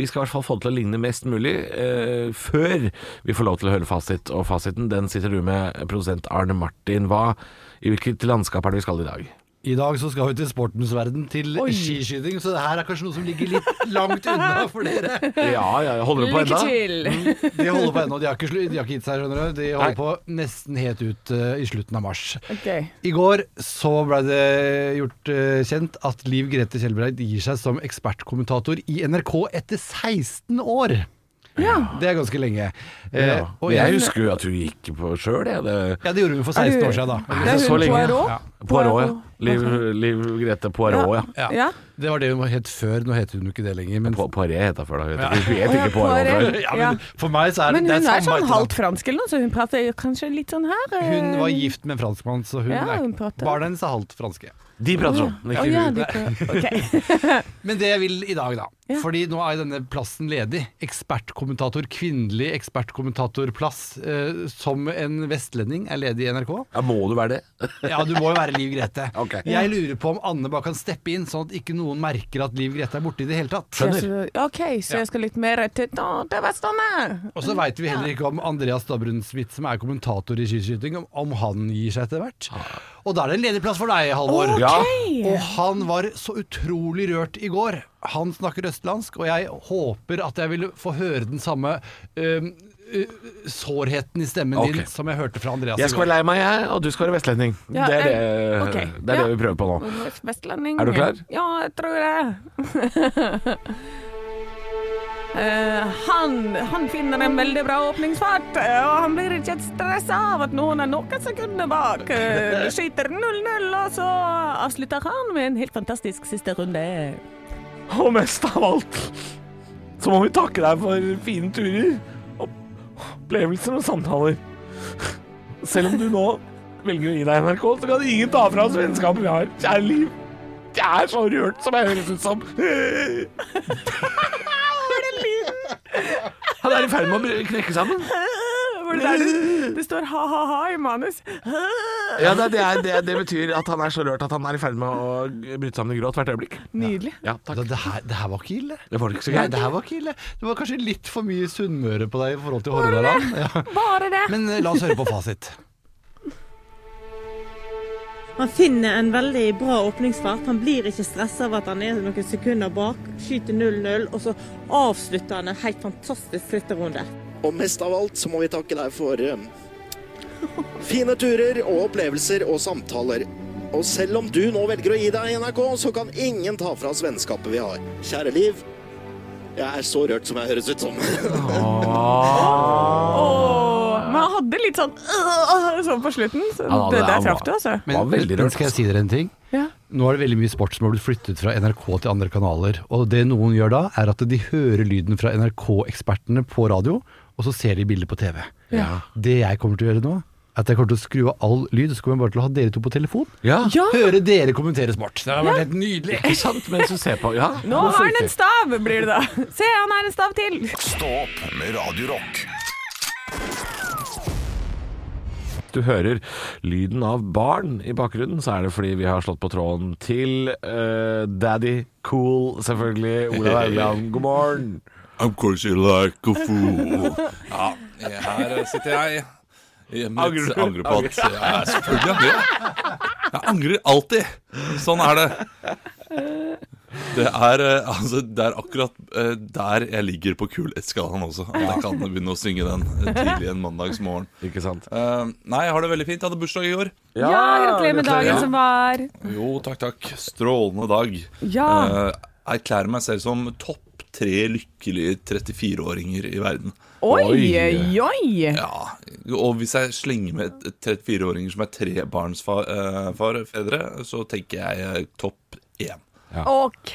Speaker 2: Vi skal i hvert fall få det til å ligne mest mulig eh, før vi får lov til å høre fasit. Og fasiten den sitter du med, produsent Arne Martin. Hva, I hvilket landskap er det vi skal i dag?
Speaker 9: I dag så skal vi til sportens verden, til skiskyting, så det her er kanskje noe som ligger [LAUGHS] litt langt unna for dere.
Speaker 2: Ja, ja, holder du på Mm. ennå?
Speaker 3: til!
Speaker 9: De holder på ennå, de har ikke, slu- de har ikke gitt seg, skjønner du. De
Speaker 2: Nei.
Speaker 9: holder på nesten helt ut eh, i slutten av mars.
Speaker 3: [LAUGHS] Ok.
Speaker 9: I går så ble det gjort eh, kjent at Liv Grete Kjellbreid gir seg som ekspertkommentator i NRK etter 16 år. Det er ganske lenge. Eh,
Speaker 2: Ja.
Speaker 9: og
Speaker 2: Jeg
Speaker 9: jeg,
Speaker 2: husker jo at hun gikk på sjøl, jeg. Det,
Speaker 9: ja, det gjorde hun for 16
Speaker 3: Er du-
Speaker 9: år siden, da.
Speaker 3: Det er
Speaker 2: så
Speaker 3: hun
Speaker 2: lenge,
Speaker 3: Poirot.
Speaker 9: Ja.
Speaker 2: Poirot, ja. Liv, Liv Grete Poirot, ja.
Speaker 9: Ja.
Speaker 3: Ja.
Speaker 9: Det var det hun het før. Nå heter hun jo ikke det lenger. Men,
Speaker 2: Po- Poiré het hun før, da. Hun [LAUGHS]
Speaker 9: Ja.
Speaker 2: het ikke- het
Speaker 3: Å, ja,
Speaker 2: ikke Poirot
Speaker 3: Poiré.
Speaker 2: før.
Speaker 9: [LAUGHS] ja,
Speaker 3: Ja.
Speaker 9: men for meg så er det
Speaker 3: Men
Speaker 9: det
Speaker 3: hun er
Speaker 9: samme
Speaker 3: sånn
Speaker 9: etternavn.
Speaker 3: halvt fransk eller noe, så hun prater kanskje litt sånn her. eh.
Speaker 9: Hun var gift med en franskmann, så hun
Speaker 3: Ja,
Speaker 9: er
Speaker 3: hun prater.
Speaker 9: barna hennes er halvt franske.
Speaker 2: De prater sånn. men
Speaker 3: Å,
Speaker 2: Ikke
Speaker 3: ja,
Speaker 2: hun.
Speaker 3: du kan- ok.
Speaker 9: Men det jeg vil i dag, da.
Speaker 3: Ja.
Speaker 9: Fordi nå er denne plassen ledig. Ekspertkommentator, kvinnelig ekspertkommentatorplass eh, som en vestlending er ledig i NRK.
Speaker 2: Ja, må du være det?
Speaker 9: Ja, du må jo være Liv Grete. [LAUGHS]
Speaker 2: Ok.
Speaker 9: Jeg lurer på om Anne bare kan steppe inn, sånn at ikke noen merker at Liv Grete er borte i det hele tatt.
Speaker 3: Ja, så- Ok, så jeg skal litt mer til Å, det var sånn her.
Speaker 9: Og så veit vi heller ikke om Andreas Dabrun Smith, som er kommentator i skiskyting, om, om han gir seg etter hvert. Og da er det en ledig plass for deg, Halvor.
Speaker 2: Ok. Ja.
Speaker 9: Og han var så utrolig rørt i går. Han snakker østlandsk, og jeg håper at jeg vil få høre den samme øhm, øh, sårheten i stemmen
Speaker 2: Ok.
Speaker 9: din som jeg hørte fra Andreas. i
Speaker 2: Jeg skal
Speaker 9: går.
Speaker 2: være lei meg, jeg, og du skal være vestlending.
Speaker 3: Ja,
Speaker 2: det er, det,
Speaker 3: eh, ok.
Speaker 2: det, er
Speaker 3: Ja.
Speaker 2: det vi prøver på nå.
Speaker 3: Vestlending.
Speaker 2: Er du klar?
Speaker 3: Ja, jeg tror det. [LAUGHS] Eh, han, han finner en veldig bra åpningsfart, eh, og han blir ikke stressa av at noen er noen sekunder bak. Eh, Skyter 0-0, og så avslutter han med en helt fantastisk siste runde.
Speaker 2: Og mest av alt så må vi takke deg for fine turer, opplevelser og samtaler. Selv om du nå velger å gi deg NRK, så kan ingen ta fra oss vennskapet vi har. Kjære Liv, jeg er så rørt som jeg høres ut som. Han er i ferd med å br- knekke sammen.
Speaker 3: Var Eh, det der det, det står ha-ha-ha i manus? Eh,
Speaker 2: Ja, det, det, er, det, det betyr at han er så rørt at han er i ferd med å bryte sammen i gråt hvert øyeblikk.
Speaker 3: Nydelig.
Speaker 2: Ja, takk.
Speaker 9: Da, Altså, det, her, det her var ikke ille.
Speaker 2: Det var ikke så
Speaker 9: Nei,
Speaker 2: gærent.
Speaker 9: det her var ikke ille. Det var kanskje litt for mye Sunnmøre på deg i forhold til Hordaland. Ja.
Speaker 3: Bare det.
Speaker 9: Men eh, la oss høre på fasit.
Speaker 8: Han finner en veldig bra åpningsfart. Han blir ikke stressa av at han er noen sekunder bak. Skyter 0-0, og så avslutter han en helt fantastisk slutterunde.
Speaker 7: Og mest av alt så må vi takke deg for eh, fine turer og opplevelser og samtaler. Og selv om du nå velger å gi deg i NRK, så kan ingen ta fra oss vennskapet vi har. Kjære Liv, jeg er så rørt som jeg høres ut som.
Speaker 3: Åh, men han hadde litt sånn øh, sånn på slutten. Så
Speaker 2: Ja,
Speaker 3: det,
Speaker 2: det- han
Speaker 3: der traff
Speaker 2: var-
Speaker 3: du, altså.
Speaker 9: Men,
Speaker 2: var veldig
Speaker 9: men
Speaker 2: rørt, altså.
Speaker 9: skal jeg si dere en ting?
Speaker 3: Ja.
Speaker 9: Nå er det veldig mye sport som har blitt flyttet fra NRK til andre kanaler. Og det noen gjør da, er at de hører lyden fra NRK-ekspertene på radio, og så ser de bilder på TV.
Speaker 3: Ja.
Speaker 9: Det jeg kommer til å gjøre nå, er at jeg kommer til å skru av all lyd, så kommer jeg bare til å ha dere to på telefon.
Speaker 2: Ja,
Speaker 3: Ja.
Speaker 9: Høre dere kommentere sport. Det har vært helt nydelig.
Speaker 2: ikke sant? Mens du ser på. Ja.
Speaker 3: Nå har han en stav, blir det da. Se, han har en stav til.
Speaker 1: Stå opp med Radio Rock.
Speaker 2: du hører lyden av barn i bakgrunnen, så er det fordi vi har slått på tråden til eh, Daddy Cool, selvfølgelig. Olav Haugland, god morgen.
Speaker 10: Of course you like a fool.
Speaker 5: Her sitter jeg. Jeg
Speaker 2: Angrer du?
Speaker 5: angrer på at jeg er selvfølgelig angrer. jeg. Jeg angrer alltid. Sånn er det. Det er, eh, altså, det er akkurat eh, der jeg ligger på kulhetsskalaen også. At jeg kan begynne å synge den eh, tidlig en mandagsmorgen.
Speaker 2: Ikke sant?
Speaker 5: Eh, nei, jeg har det veldig fint. Jeg hadde bursdag i går.
Speaker 3: Ja, gratulerer med dagen som var.
Speaker 5: Jo, takk, takk. Strålende dag.
Speaker 3: Ja.
Speaker 5: Eh, jeg erklærer meg selv som topp tre lykkelige 34-åringer i verden.
Speaker 3: Oi, oi, oi.
Speaker 5: Ja, og hvis jeg slenger med et- et 34-åringer som er trebarnsfedre, så tenker jeg eh, topp én.
Speaker 3: OK.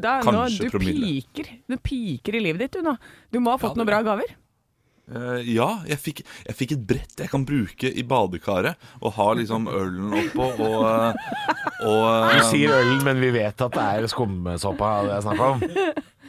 Speaker 3: Da, nå,
Speaker 5: Kanskje
Speaker 3: du
Speaker 5: promille.
Speaker 3: piker. Du piker i livet ditt, du nå. Du må ha fått noen bra gaver.
Speaker 5: Eh, ja, jeg fikk, jeg fikk et brett jeg kan bruke i badekaret, og ha liksom ølen oppå og, eh, og
Speaker 2: Du
Speaker 5: eh,
Speaker 2: sier ølen, men vi vet at det er skumsåpa det er snakk om.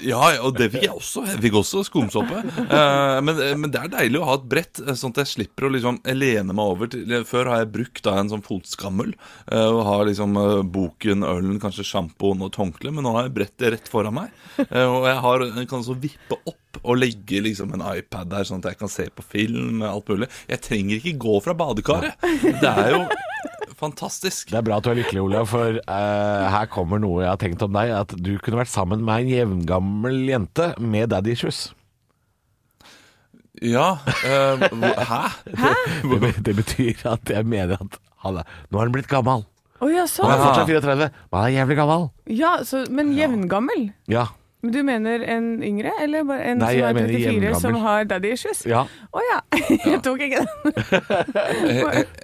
Speaker 5: Ja, og det fikk jeg også. Jeg fikk også skumsåpe. Eh, men, men det er deilig å ha et brett, eh, sånn at jeg slipper å liksom lene meg over. Til, før har jeg brukt da en sånn fotskammel. eh, og har liksom eh, boken, ølen, kanskje sjampoen og et håndkle. Men nå har jeg brettet rett foran meg. Eh, og jeg har, jeg kan så vippe opp og legge liksom en iPad der, sånn at jeg kan se på film. eh, alt mulig Jeg trenger ikke gå fra badekaret. Det er jo fantastisk.
Speaker 2: Det er bra at du er lykkelig, Olav, for eh, her kommer noe jeg har tenkt om deg. At du kunne vært sammen med en jevngammel jente med daddy issues.
Speaker 5: Ja. eh, hvor- hæ?
Speaker 2: Det, be- det betyr at jeg mener at han er, nå er han blitt gammel.
Speaker 3: Å ja,
Speaker 2: Han er
Speaker 3: sånn.
Speaker 2: Ah. fortsatt 34, men han er jævlig gammel.
Speaker 3: Ja, så, men jevngammel.
Speaker 2: Ja.
Speaker 3: Men du mener en yngre, eller bare en
Speaker 2: Nei,
Speaker 3: som
Speaker 2: jeg
Speaker 3: er
Speaker 2: mener
Speaker 3: 34 som
Speaker 2: jevngammel.
Speaker 3: har daddy issues?
Speaker 2: Ja.
Speaker 3: Å ja. [LAUGHS] Jeg tok ikke den.
Speaker 5: Jeg, jeg, Eh,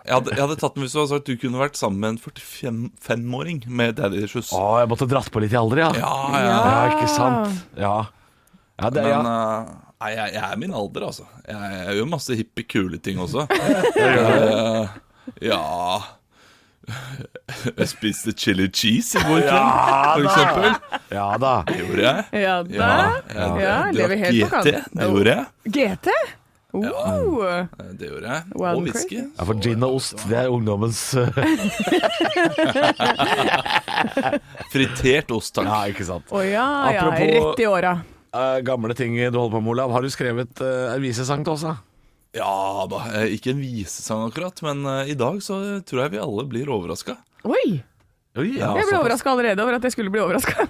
Speaker 5: jeg, hadde, jeg hadde tatt den hvis du hadde sagt du kunne vært sammen med en 45-åring med daddy issues.
Speaker 2: Å, jeg måtte dratt på litt i alder, ja.
Speaker 5: Ja, ja.
Speaker 2: ikke sant. Ja. Ja, det,
Speaker 5: Men
Speaker 2: ja.
Speaker 5: eh, nei, jeg, jeg er min alder, altså. Jeg, jeg gjør masse hippe, kule ting også. Eh, ja [LAUGHS] Jeg spiste chili cheese i går kveld,
Speaker 2: Ja
Speaker 5: for
Speaker 2: da.
Speaker 5: eksempel.
Speaker 2: ja da.
Speaker 5: Det gjorde jeg.
Speaker 3: Ja da.
Speaker 5: ja,
Speaker 3: Ja, lever
Speaker 5: drakk
Speaker 3: helt på
Speaker 5: GT.
Speaker 3: kant.
Speaker 5: Det gjorde jeg.
Speaker 3: GT? Oh.
Speaker 5: Eh, Det gjorde jeg.
Speaker 3: Wild
Speaker 5: Og
Speaker 3: and
Speaker 5: whisky.
Speaker 3: crazy.
Speaker 2: Ja, for gin og ost, det er ungdommens eh,
Speaker 5: Fritert ost, takk.
Speaker 2: Ja, ikke sant.
Speaker 3: Å ja, ja.
Speaker 2: Apropos-
Speaker 3: Rett i åra.
Speaker 2: Eh, gamle ting du holder på med, Olav. Har du skrevet uh, en visesang til oss, da?
Speaker 5: Ja da. eh, Ikke en visesang akkurat, men eh, i dag så tror jeg vi alle blir overraska.
Speaker 3: Oi!
Speaker 5: Ja,
Speaker 2: altså.
Speaker 3: Jeg ble
Speaker 5: såpass.
Speaker 3: overraska allerede over at jeg skulle bli overraska.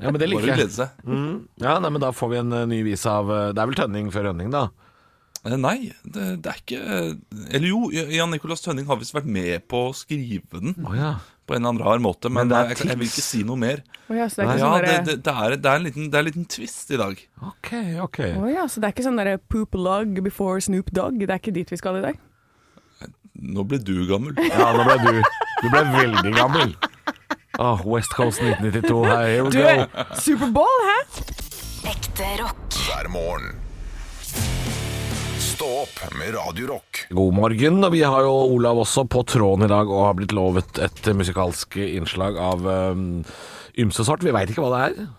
Speaker 2: Ja, men det
Speaker 5: Bare
Speaker 2: liker jeg.
Speaker 5: glede seg.
Speaker 2: Mm. Ja, nei, men da får vi en eh, ny vise av eh, Det er vel Tønning før Rønning, da?
Speaker 5: Eh, Nei, det, det er ikke Eller jo, Jan Nicolas Tønning har visst vært med på å skrive den.
Speaker 2: Å ja.
Speaker 5: På en eller annen rar måte, men,
Speaker 2: Men det er
Speaker 5: jeg, jeg vil ikke si noe mer.
Speaker 3: [LAUGHS] Å ja, så det er
Speaker 5: Nei,
Speaker 3: ikke
Speaker 5: ja,
Speaker 3: sånn
Speaker 5: det,
Speaker 3: derre
Speaker 5: det, det, er, det er en liten, det er en liten twist i dag.
Speaker 2: Ok, ok.
Speaker 3: Å ja, så det er ikke sånn derre poop log before Snoop Dogg. Det er ikke dit vi skal i dag.
Speaker 5: Nå ble du gammel.
Speaker 2: Ja, nå ble du Du ble veldig gammel. Åh, West Coast 1992. Hey, here we
Speaker 3: Du,
Speaker 2: go.
Speaker 3: Superbowl, hæ?
Speaker 4: Ekte rock.
Speaker 1: hver morgen. Stå opp med Radio Rock.
Speaker 2: God morgen. og Vi har jo Olav også på tråden i dag og har blitt lovet et eh, musikalsk innslag av eh, ymse sort. Vi veit ikke hva det er.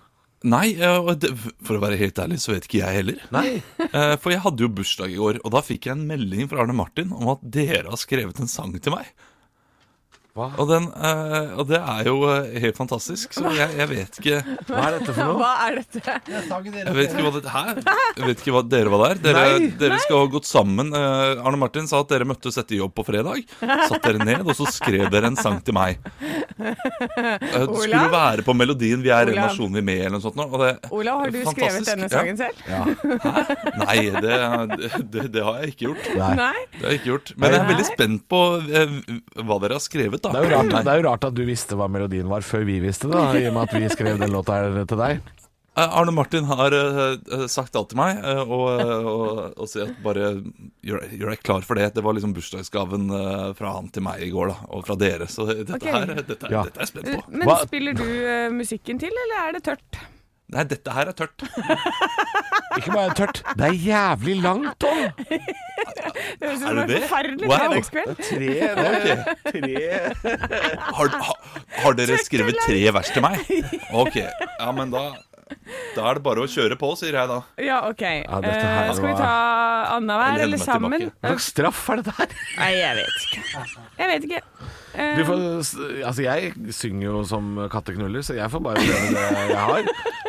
Speaker 5: Nei, eh, og det, for å være helt ærlig, så vet ikke jeg heller.
Speaker 2: Nei.
Speaker 5: [LAUGHS] Eh, For jeg hadde jo bursdag i går, og da fikk jeg en melding fra Arne Martin om at dere har skrevet en sang til meg.
Speaker 2: Hva?
Speaker 5: Og, den, eh, og det er jo eh, helt fantastisk, så jeg, jeg vet ikke
Speaker 2: Hva er dette for noe?
Speaker 3: Hva er dette?
Speaker 5: Jeg vet ikke hva det Hæ? Jeg vet ikke hva dere var der. Dere, dere skal ha gått sammen. Eh, Arne Martin sa at dere møttes etter jobb på fredag. Satt dere ned, og så skrev dere en sang til meg. Eh, Det skulle
Speaker 3: Olav?
Speaker 5: være på melodien 'Vi er en
Speaker 3: Olav?
Speaker 5: nasjon vi er med' eller noe sånt. nå, Og det,
Speaker 3: Olav, har du skrevet
Speaker 5: Fantastisk,
Speaker 3: denne
Speaker 5: ja.
Speaker 3: sangen selv?
Speaker 5: nei, det, det, det har jeg ikke gjort.
Speaker 2: [LAUGHS] Nei.
Speaker 3: Nei?
Speaker 5: Det har jeg ikke gjort. Men jeg er veldig spent på eh, hva dere har skrevet, da.
Speaker 2: Det er, jo rart, det er jo rart at du visste hva melodien var før vi visste det, da, i og med at vi skrev den låta her til deg.
Speaker 5: Eh, Arne Martin har eh, eh, sagt alt til meg, eh, og, eh, og, og sier at bare gjør, gjør deg klar for det. Det var liksom bursdagsgaven eh, fra han til meg i går, da, og fra dere. Så dette,
Speaker 3: Ok.
Speaker 5: her, dette,
Speaker 2: Ja.
Speaker 5: dette er jeg spent på.
Speaker 3: Men
Speaker 2: Hva-
Speaker 3: spiller du eh, musikken til, eller er det tørt?
Speaker 5: Nei, dette her er tørt.
Speaker 2: Ikke bare tørt, det er jævlig langt, Tom!
Speaker 3: Det høres ut
Speaker 5: Er
Speaker 3: som
Speaker 5: det
Speaker 3: en
Speaker 5: det?
Speaker 3: forferdelig
Speaker 5: Wow.
Speaker 3: fredagskveld.
Speaker 2: Tre, det
Speaker 5: Har, ha, har dere skrevet tre vers til
Speaker 3: [LAUGHS]
Speaker 5: meg? Ok, ja, men da Da er det bare å kjøre på, sier jeg da.
Speaker 3: Ja, OK.
Speaker 2: dette her
Speaker 3: Eh, skal vi
Speaker 2: var-
Speaker 3: ta annenhver
Speaker 5: Jeg lener
Speaker 3: eller
Speaker 5: meg
Speaker 3: sammen?
Speaker 5: tilbake.
Speaker 2: Hva slags straff er dette her?
Speaker 3: Nei, jeg vet ikke. Jeg vet ikke. Eh,
Speaker 2: Du får, altså jeg synger jo som katteknuller, så jeg får bare prøve det jeg har.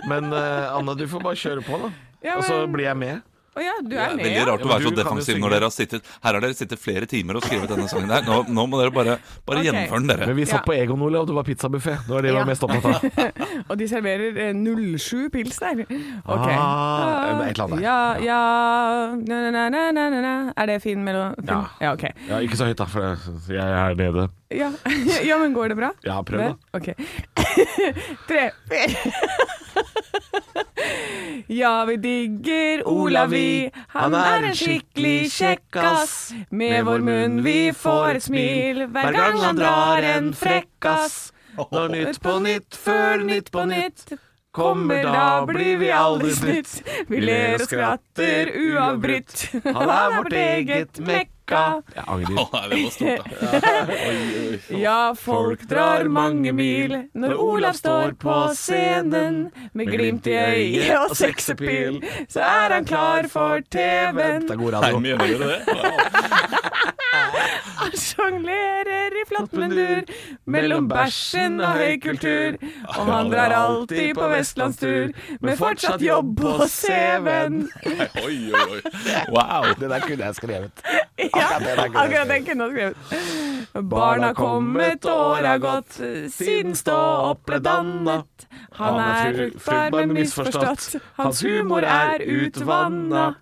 Speaker 2: Men eh, Anne, du får bare kjøre på, da.
Speaker 3: Ja,
Speaker 2: Og så
Speaker 3: men-
Speaker 2: blir jeg med.
Speaker 3: Eh, Å ja, du
Speaker 5: Det
Speaker 3: er
Speaker 5: er
Speaker 3: med,
Speaker 5: veldig
Speaker 3: ja?
Speaker 2: Ja,
Speaker 5: rart å
Speaker 2: men
Speaker 5: være
Speaker 2: du
Speaker 5: så
Speaker 2: kan jo
Speaker 5: defensiv
Speaker 2: synge.
Speaker 5: når dere har sittet Her har dere sittet flere timer og skrevet denne sangen der. Nå, nå må dere bare, bare
Speaker 3: Ok.
Speaker 5: gjennomføre den, dere.
Speaker 2: Men vi satt på
Speaker 3: Ja.
Speaker 2: Egon, Olav, det var pizzabuffé. Det var det vi
Speaker 3: Ja.
Speaker 2: var mest opptatt av.
Speaker 3: Og de serverer eh, 07 pils der. Ok.
Speaker 2: Ah, et eller annet.
Speaker 3: Ja, ja na, na, na, na, na, na. Er det fin mellom... fin?
Speaker 2: Ja.
Speaker 3: ja, ok.
Speaker 2: Ja, ikke så høyt, da, for jeg er nede.
Speaker 3: Ja. [LAUGHS] ja, men går det bra?
Speaker 2: Ja, prøv, da.
Speaker 3: Det? Ok. [LAUGHS] Tre, [LAUGHS] fire. Ja, vi digger Olav, vi. Han er en skikkelig kjekkas. Med vår munn vi får et smil hver gang han drar en frekkas.
Speaker 2: Når nytt
Speaker 3: på nytt før nytt på nytt kommer, da blir vi aldri snytt. Vi ler og skratter uavbrutt. Han er [LAUGHS] vårt eget mekka.
Speaker 2: Jeg angrer.
Speaker 5: Å, nei, det var stort, da.
Speaker 3: Ja, folk drar mange mil når Olav står på scenen. Med glimt i øyet [LAUGHS] og sexepil, så er han klar for TV-en.
Speaker 2: Det er god
Speaker 5: Nei,
Speaker 2: radio.
Speaker 5: men gjør dere det?
Speaker 3: Han sjonglerer i flott mundur mellom bæsjen og høykultur. Og han drar alltid på vestlandstur, men fortsatt jobb på CV-en.
Speaker 5: Oi, oi, oi. Wow.
Speaker 2: Det der kunne jeg skrevet.
Speaker 3: [LAUGHS] Ja, akkurat den kunne jeg skrevet. Barna kommet, åra gått, siden stå opp ble dannet. Han er fruktbar, men misforstått. Hans humor er utvanna.
Speaker 2: [LAUGHS]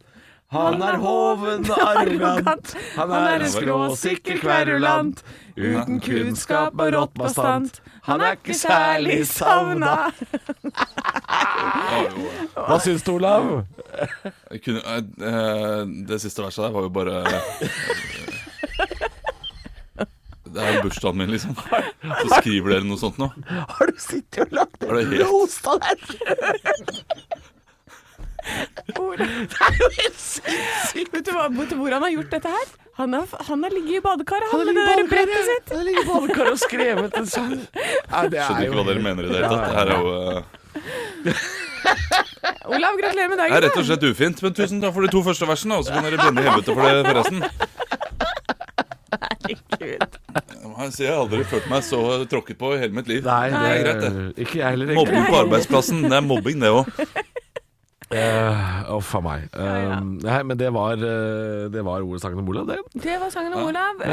Speaker 2: Han er hoven og arrogant. Han
Speaker 3: Han
Speaker 2: er en skråsikker kverulant. Uten kunnskap og rått bastant. Han er ikke særlig savna. Hva syns du, Olav?
Speaker 5: Jeg kunne, eh, eh, det siste verset der var jo bare eh, Det er jo bursdagen min, liksom. Så skriver dere noe sånt nå.
Speaker 2: Har du sittet og lagt
Speaker 5: Er det helt-
Speaker 2: rosa deg [LAUGHS] Det er jo helt sinnssykt!
Speaker 3: Vet du, hva, vet du hvor han har gjort dette her? Han har, han har ligget i badekaret, han,
Speaker 2: Han har
Speaker 3: med
Speaker 2: ligget i
Speaker 3: det der brettet
Speaker 2: badekaret,
Speaker 3: sitt.
Speaker 2: Han ligger i badekaret og skrevet en sang. Nei, det er
Speaker 5: Skjønner ikke
Speaker 2: jo
Speaker 5: hva dere mener i det hele
Speaker 2: Ja,
Speaker 5: tatt. Det
Speaker 2: ja.
Speaker 5: her er jo eh,
Speaker 3: Olav, gratulerer med
Speaker 5: Det
Speaker 3: dagen.
Speaker 5: er rett og
Speaker 3: da.
Speaker 5: slett ufint. Men tusen takk for de to første versene, og så kan dere brenne i helvete for det forresten. Jeg sier, jeg har aldri følt meg så tråkket på i hele mitt liv.
Speaker 2: Nei,
Speaker 5: det er
Speaker 2: det
Speaker 5: greit, det.
Speaker 2: Ikke jeg heller. egentlig.
Speaker 5: Mobbing på arbeidsplassen, det er mobbing, det òg.
Speaker 2: Eh, Å, faen meg. Eh, Nei, men det var, eh, det var ordet sangen om Olav, det.
Speaker 3: Det var sangen om Olav.
Speaker 2: Eh,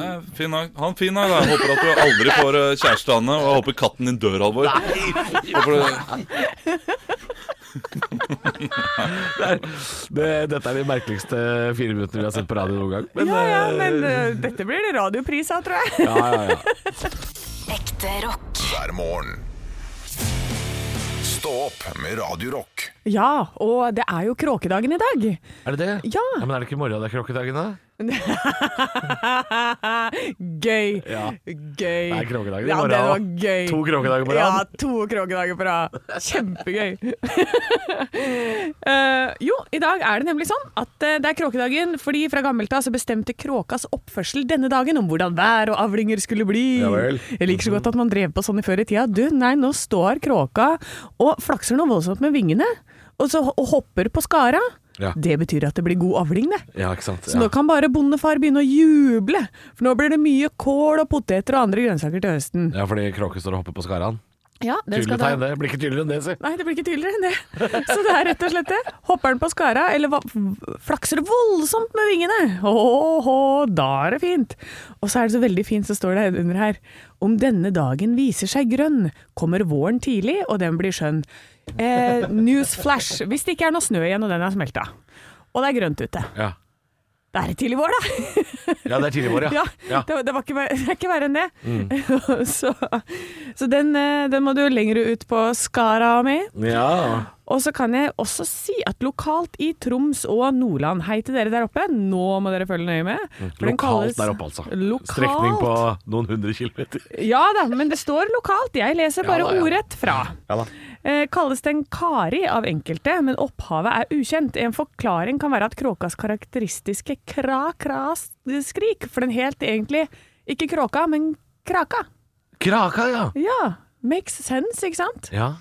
Speaker 5: Nei, Fin dag. Ha en fin dag, da. Jeg Håper at du aldri får eh, kjæreste, Anne. Og jeg håper katten din dør, Halvor. Håper du-
Speaker 2: det er, det, dette er de merkeligste fire minuttene vi har sett på radio noen gang.
Speaker 3: Ja, ja,
Speaker 2: eh,
Speaker 3: men eh, dette blir det radiopris av, tror jeg.
Speaker 2: ja, ja, ja.
Speaker 4: Ekte rock.
Speaker 1: hver morgen. Stå opp med Radio Rock.
Speaker 3: Ja, og det er jo kråkedagen i dag.
Speaker 2: [LAUGHS] Er det det?
Speaker 3: Ja.
Speaker 2: Men er det ikke i morgen det er kråkedagen, da?
Speaker 3: gøy.
Speaker 2: Ja.
Speaker 3: Gøy.
Speaker 2: Det er kråkedagen i
Speaker 3: Ja,
Speaker 2: morgen
Speaker 3: det var
Speaker 2: også.
Speaker 3: gøy.
Speaker 2: To kråkedager på rad.
Speaker 3: Ja, to kråkedager på rad.
Speaker 2: [LAUGHS]
Speaker 3: Kjempegøy. Eh, jo, i dag er det nemlig sånn at eh, det er kråkedagen fordi fra gammelt av så bestemte kråkas oppførsel denne dagen om hvordan vær og avlinger skulle bli.
Speaker 2: Ja vel.
Speaker 3: Jeg liker så godt at man drev på sånn i før i tida. Du, nei, nå står kråka og flakser noe voldsomt med vingene, og så ho- og hopper på skara.
Speaker 2: Ja.
Speaker 3: Det betyr at det blir god avling, det.
Speaker 2: Ja, ikke sant.
Speaker 3: Så nå kan bare bondefar begynne å juble, for nå blir det mye kål og poteter og andre grønnsaker til høsten.
Speaker 2: Ja, fordi kråke står og hopper på skaraen.
Speaker 3: Ja, den
Speaker 2: Tydelig
Speaker 3: skal da-
Speaker 2: tegn, det. Blir ikke tydeligere enn det, si.
Speaker 3: Nei, det blir ikke tydeligere enn det. Så det er rett og slett det. Hopper den på skara, eller hva- flakser det voldsomt med vingene? Åhå, da er det fint. Og så er det så veldig fint, så står det under her. Om denne dagen viser seg grønn, kommer våren tidlig, og den blir skjønn. Eh, newsflash, hvis det ikke er noe snø igjen og den er smelta. Og det er grønt ute.
Speaker 2: Ja.
Speaker 3: Det er det tidlig vår, da.
Speaker 2: ja, det er tidlig i morgen,
Speaker 3: [LAUGHS] Ja,
Speaker 2: ja. ja. Mm.
Speaker 3: Det, det, var ikke, ver- [LAUGHS] det er ikke verre enn det. [LAUGHS] så så den, eh, den må du lenger ut på skara med.
Speaker 2: Ja.
Speaker 3: Og så kan jeg også si at lokalt i Troms og Nordland, hei til dere der oppe, nå må dere følge nøye med. for den
Speaker 2: Mm. Lokalt
Speaker 3: kalles-
Speaker 2: der oppe, altså.
Speaker 3: Lokalt.
Speaker 2: Strekning på noen hundre kilometer.
Speaker 3: Ja da, men det står lokalt. Jeg leser bare
Speaker 2: da, ja.
Speaker 3: ordrett fra.
Speaker 2: Ja da.
Speaker 3: Eh, kalles den Kari av enkelte, men opphavet er ukjent. En forklaring kan være at kråkas karakteristiske kra-kra-skrik, for den helt egentlig ikke kråka, men kraka.
Speaker 2: Kraka, ja.
Speaker 3: Ja, makes sense, ikke sant?
Speaker 2: Ja.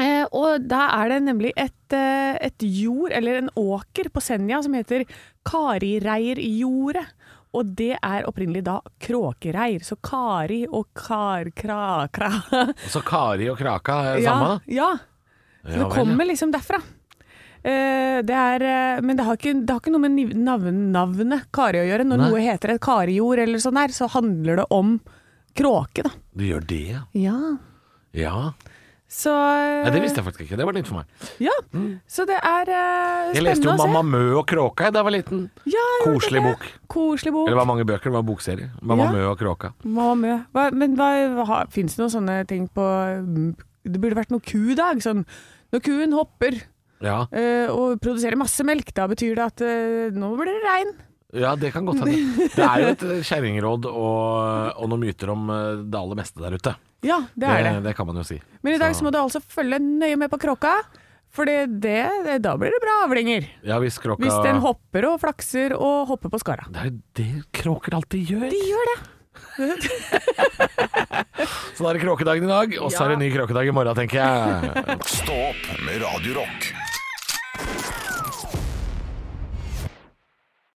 Speaker 3: Eh, og da er det nemlig et, eh, et jord, eller en åker på Senja, som heter Karireirjordet. Og det er opprinnelig da kråkereir. Så Kari og Kar-Kra-Kra
Speaker 2: Og så Kari og Kraka er det
Speaker 3: ja,
Speaker 2: samme?
Speaker 3: Ja.
Speaker 2: Ja
Speaker 3: Så
Speaker 2: vel,
Speaker 3: det
Speaker 2: ja.
Speaker 3: kommer liksom derfra. Eh, det er, eh, men det har, ikke, det har ikke noe med niv- navn, navnet Kari å gjøre. Når
Speaker 2: Nei.
Speaker 3: noe heter et karijord eller sånn her, så handler det om kråke, da.
Speaker 2: Du gjør det, ja.
Speaker 3: Ja.
Speaker 2: Ja.
Speaker 3: Så eh,
Speaker 2: Nei, det visste jeg faktisk ikke. Det var nytt for meg.
Speaker 3: Ja, så det er eh,
Speaker 2: Jeg leste jo
Speaker 3: spennende å se.
Speaker 2: 'Mamma Mø og Kråka' da jeg var liten.
Speaker 3: Ja, jeg gjorde
Speaker 2: Koselig
Speaker 3: det.
Speaker 2: bok.
Speaker 3: Koselig bok.
Speaker 2: Eller det var mange bøker, det var en bokserie. 'Mamma
Speaker 3: Ja.
Speaker 2: Mø og Kråka'.
Speaker 3: Mamma Mø. Hva, men hva, fins det noen sånne ting på mm, Det burde vært noe kudag. Sånn når kuen hopper
Speaker 2: Ja.
Speaker 3: eh, og produserer masse melk, da betyr det at eh, nå blir det regn.
Speaker 2: ja, det kan godt hende. Det er jo et eh, kjerringråd og, og noen myter om eh, det aller meste der ute.
Speaker 3: Ja, det er det.
Speaker 2: kan man jo si.
Speaker 3: Men i dag så må du altså følge nøye med på kråka, for det, det, da blir det bra avlinger.
Speaker 2: Ja, hvis kråka
Speaker 3: Hvis den hopper og flakser og hopper på skara.
Speaker 2: Det er jo det kråker alltid gjør.
Speaker 3: De gjør det.
Speaker 2: Så da er det kråkedagen i dag, og så er det ny kråkedag i morgen, tenker jeg.
Speaker 1: Stå opp med Radio Rock.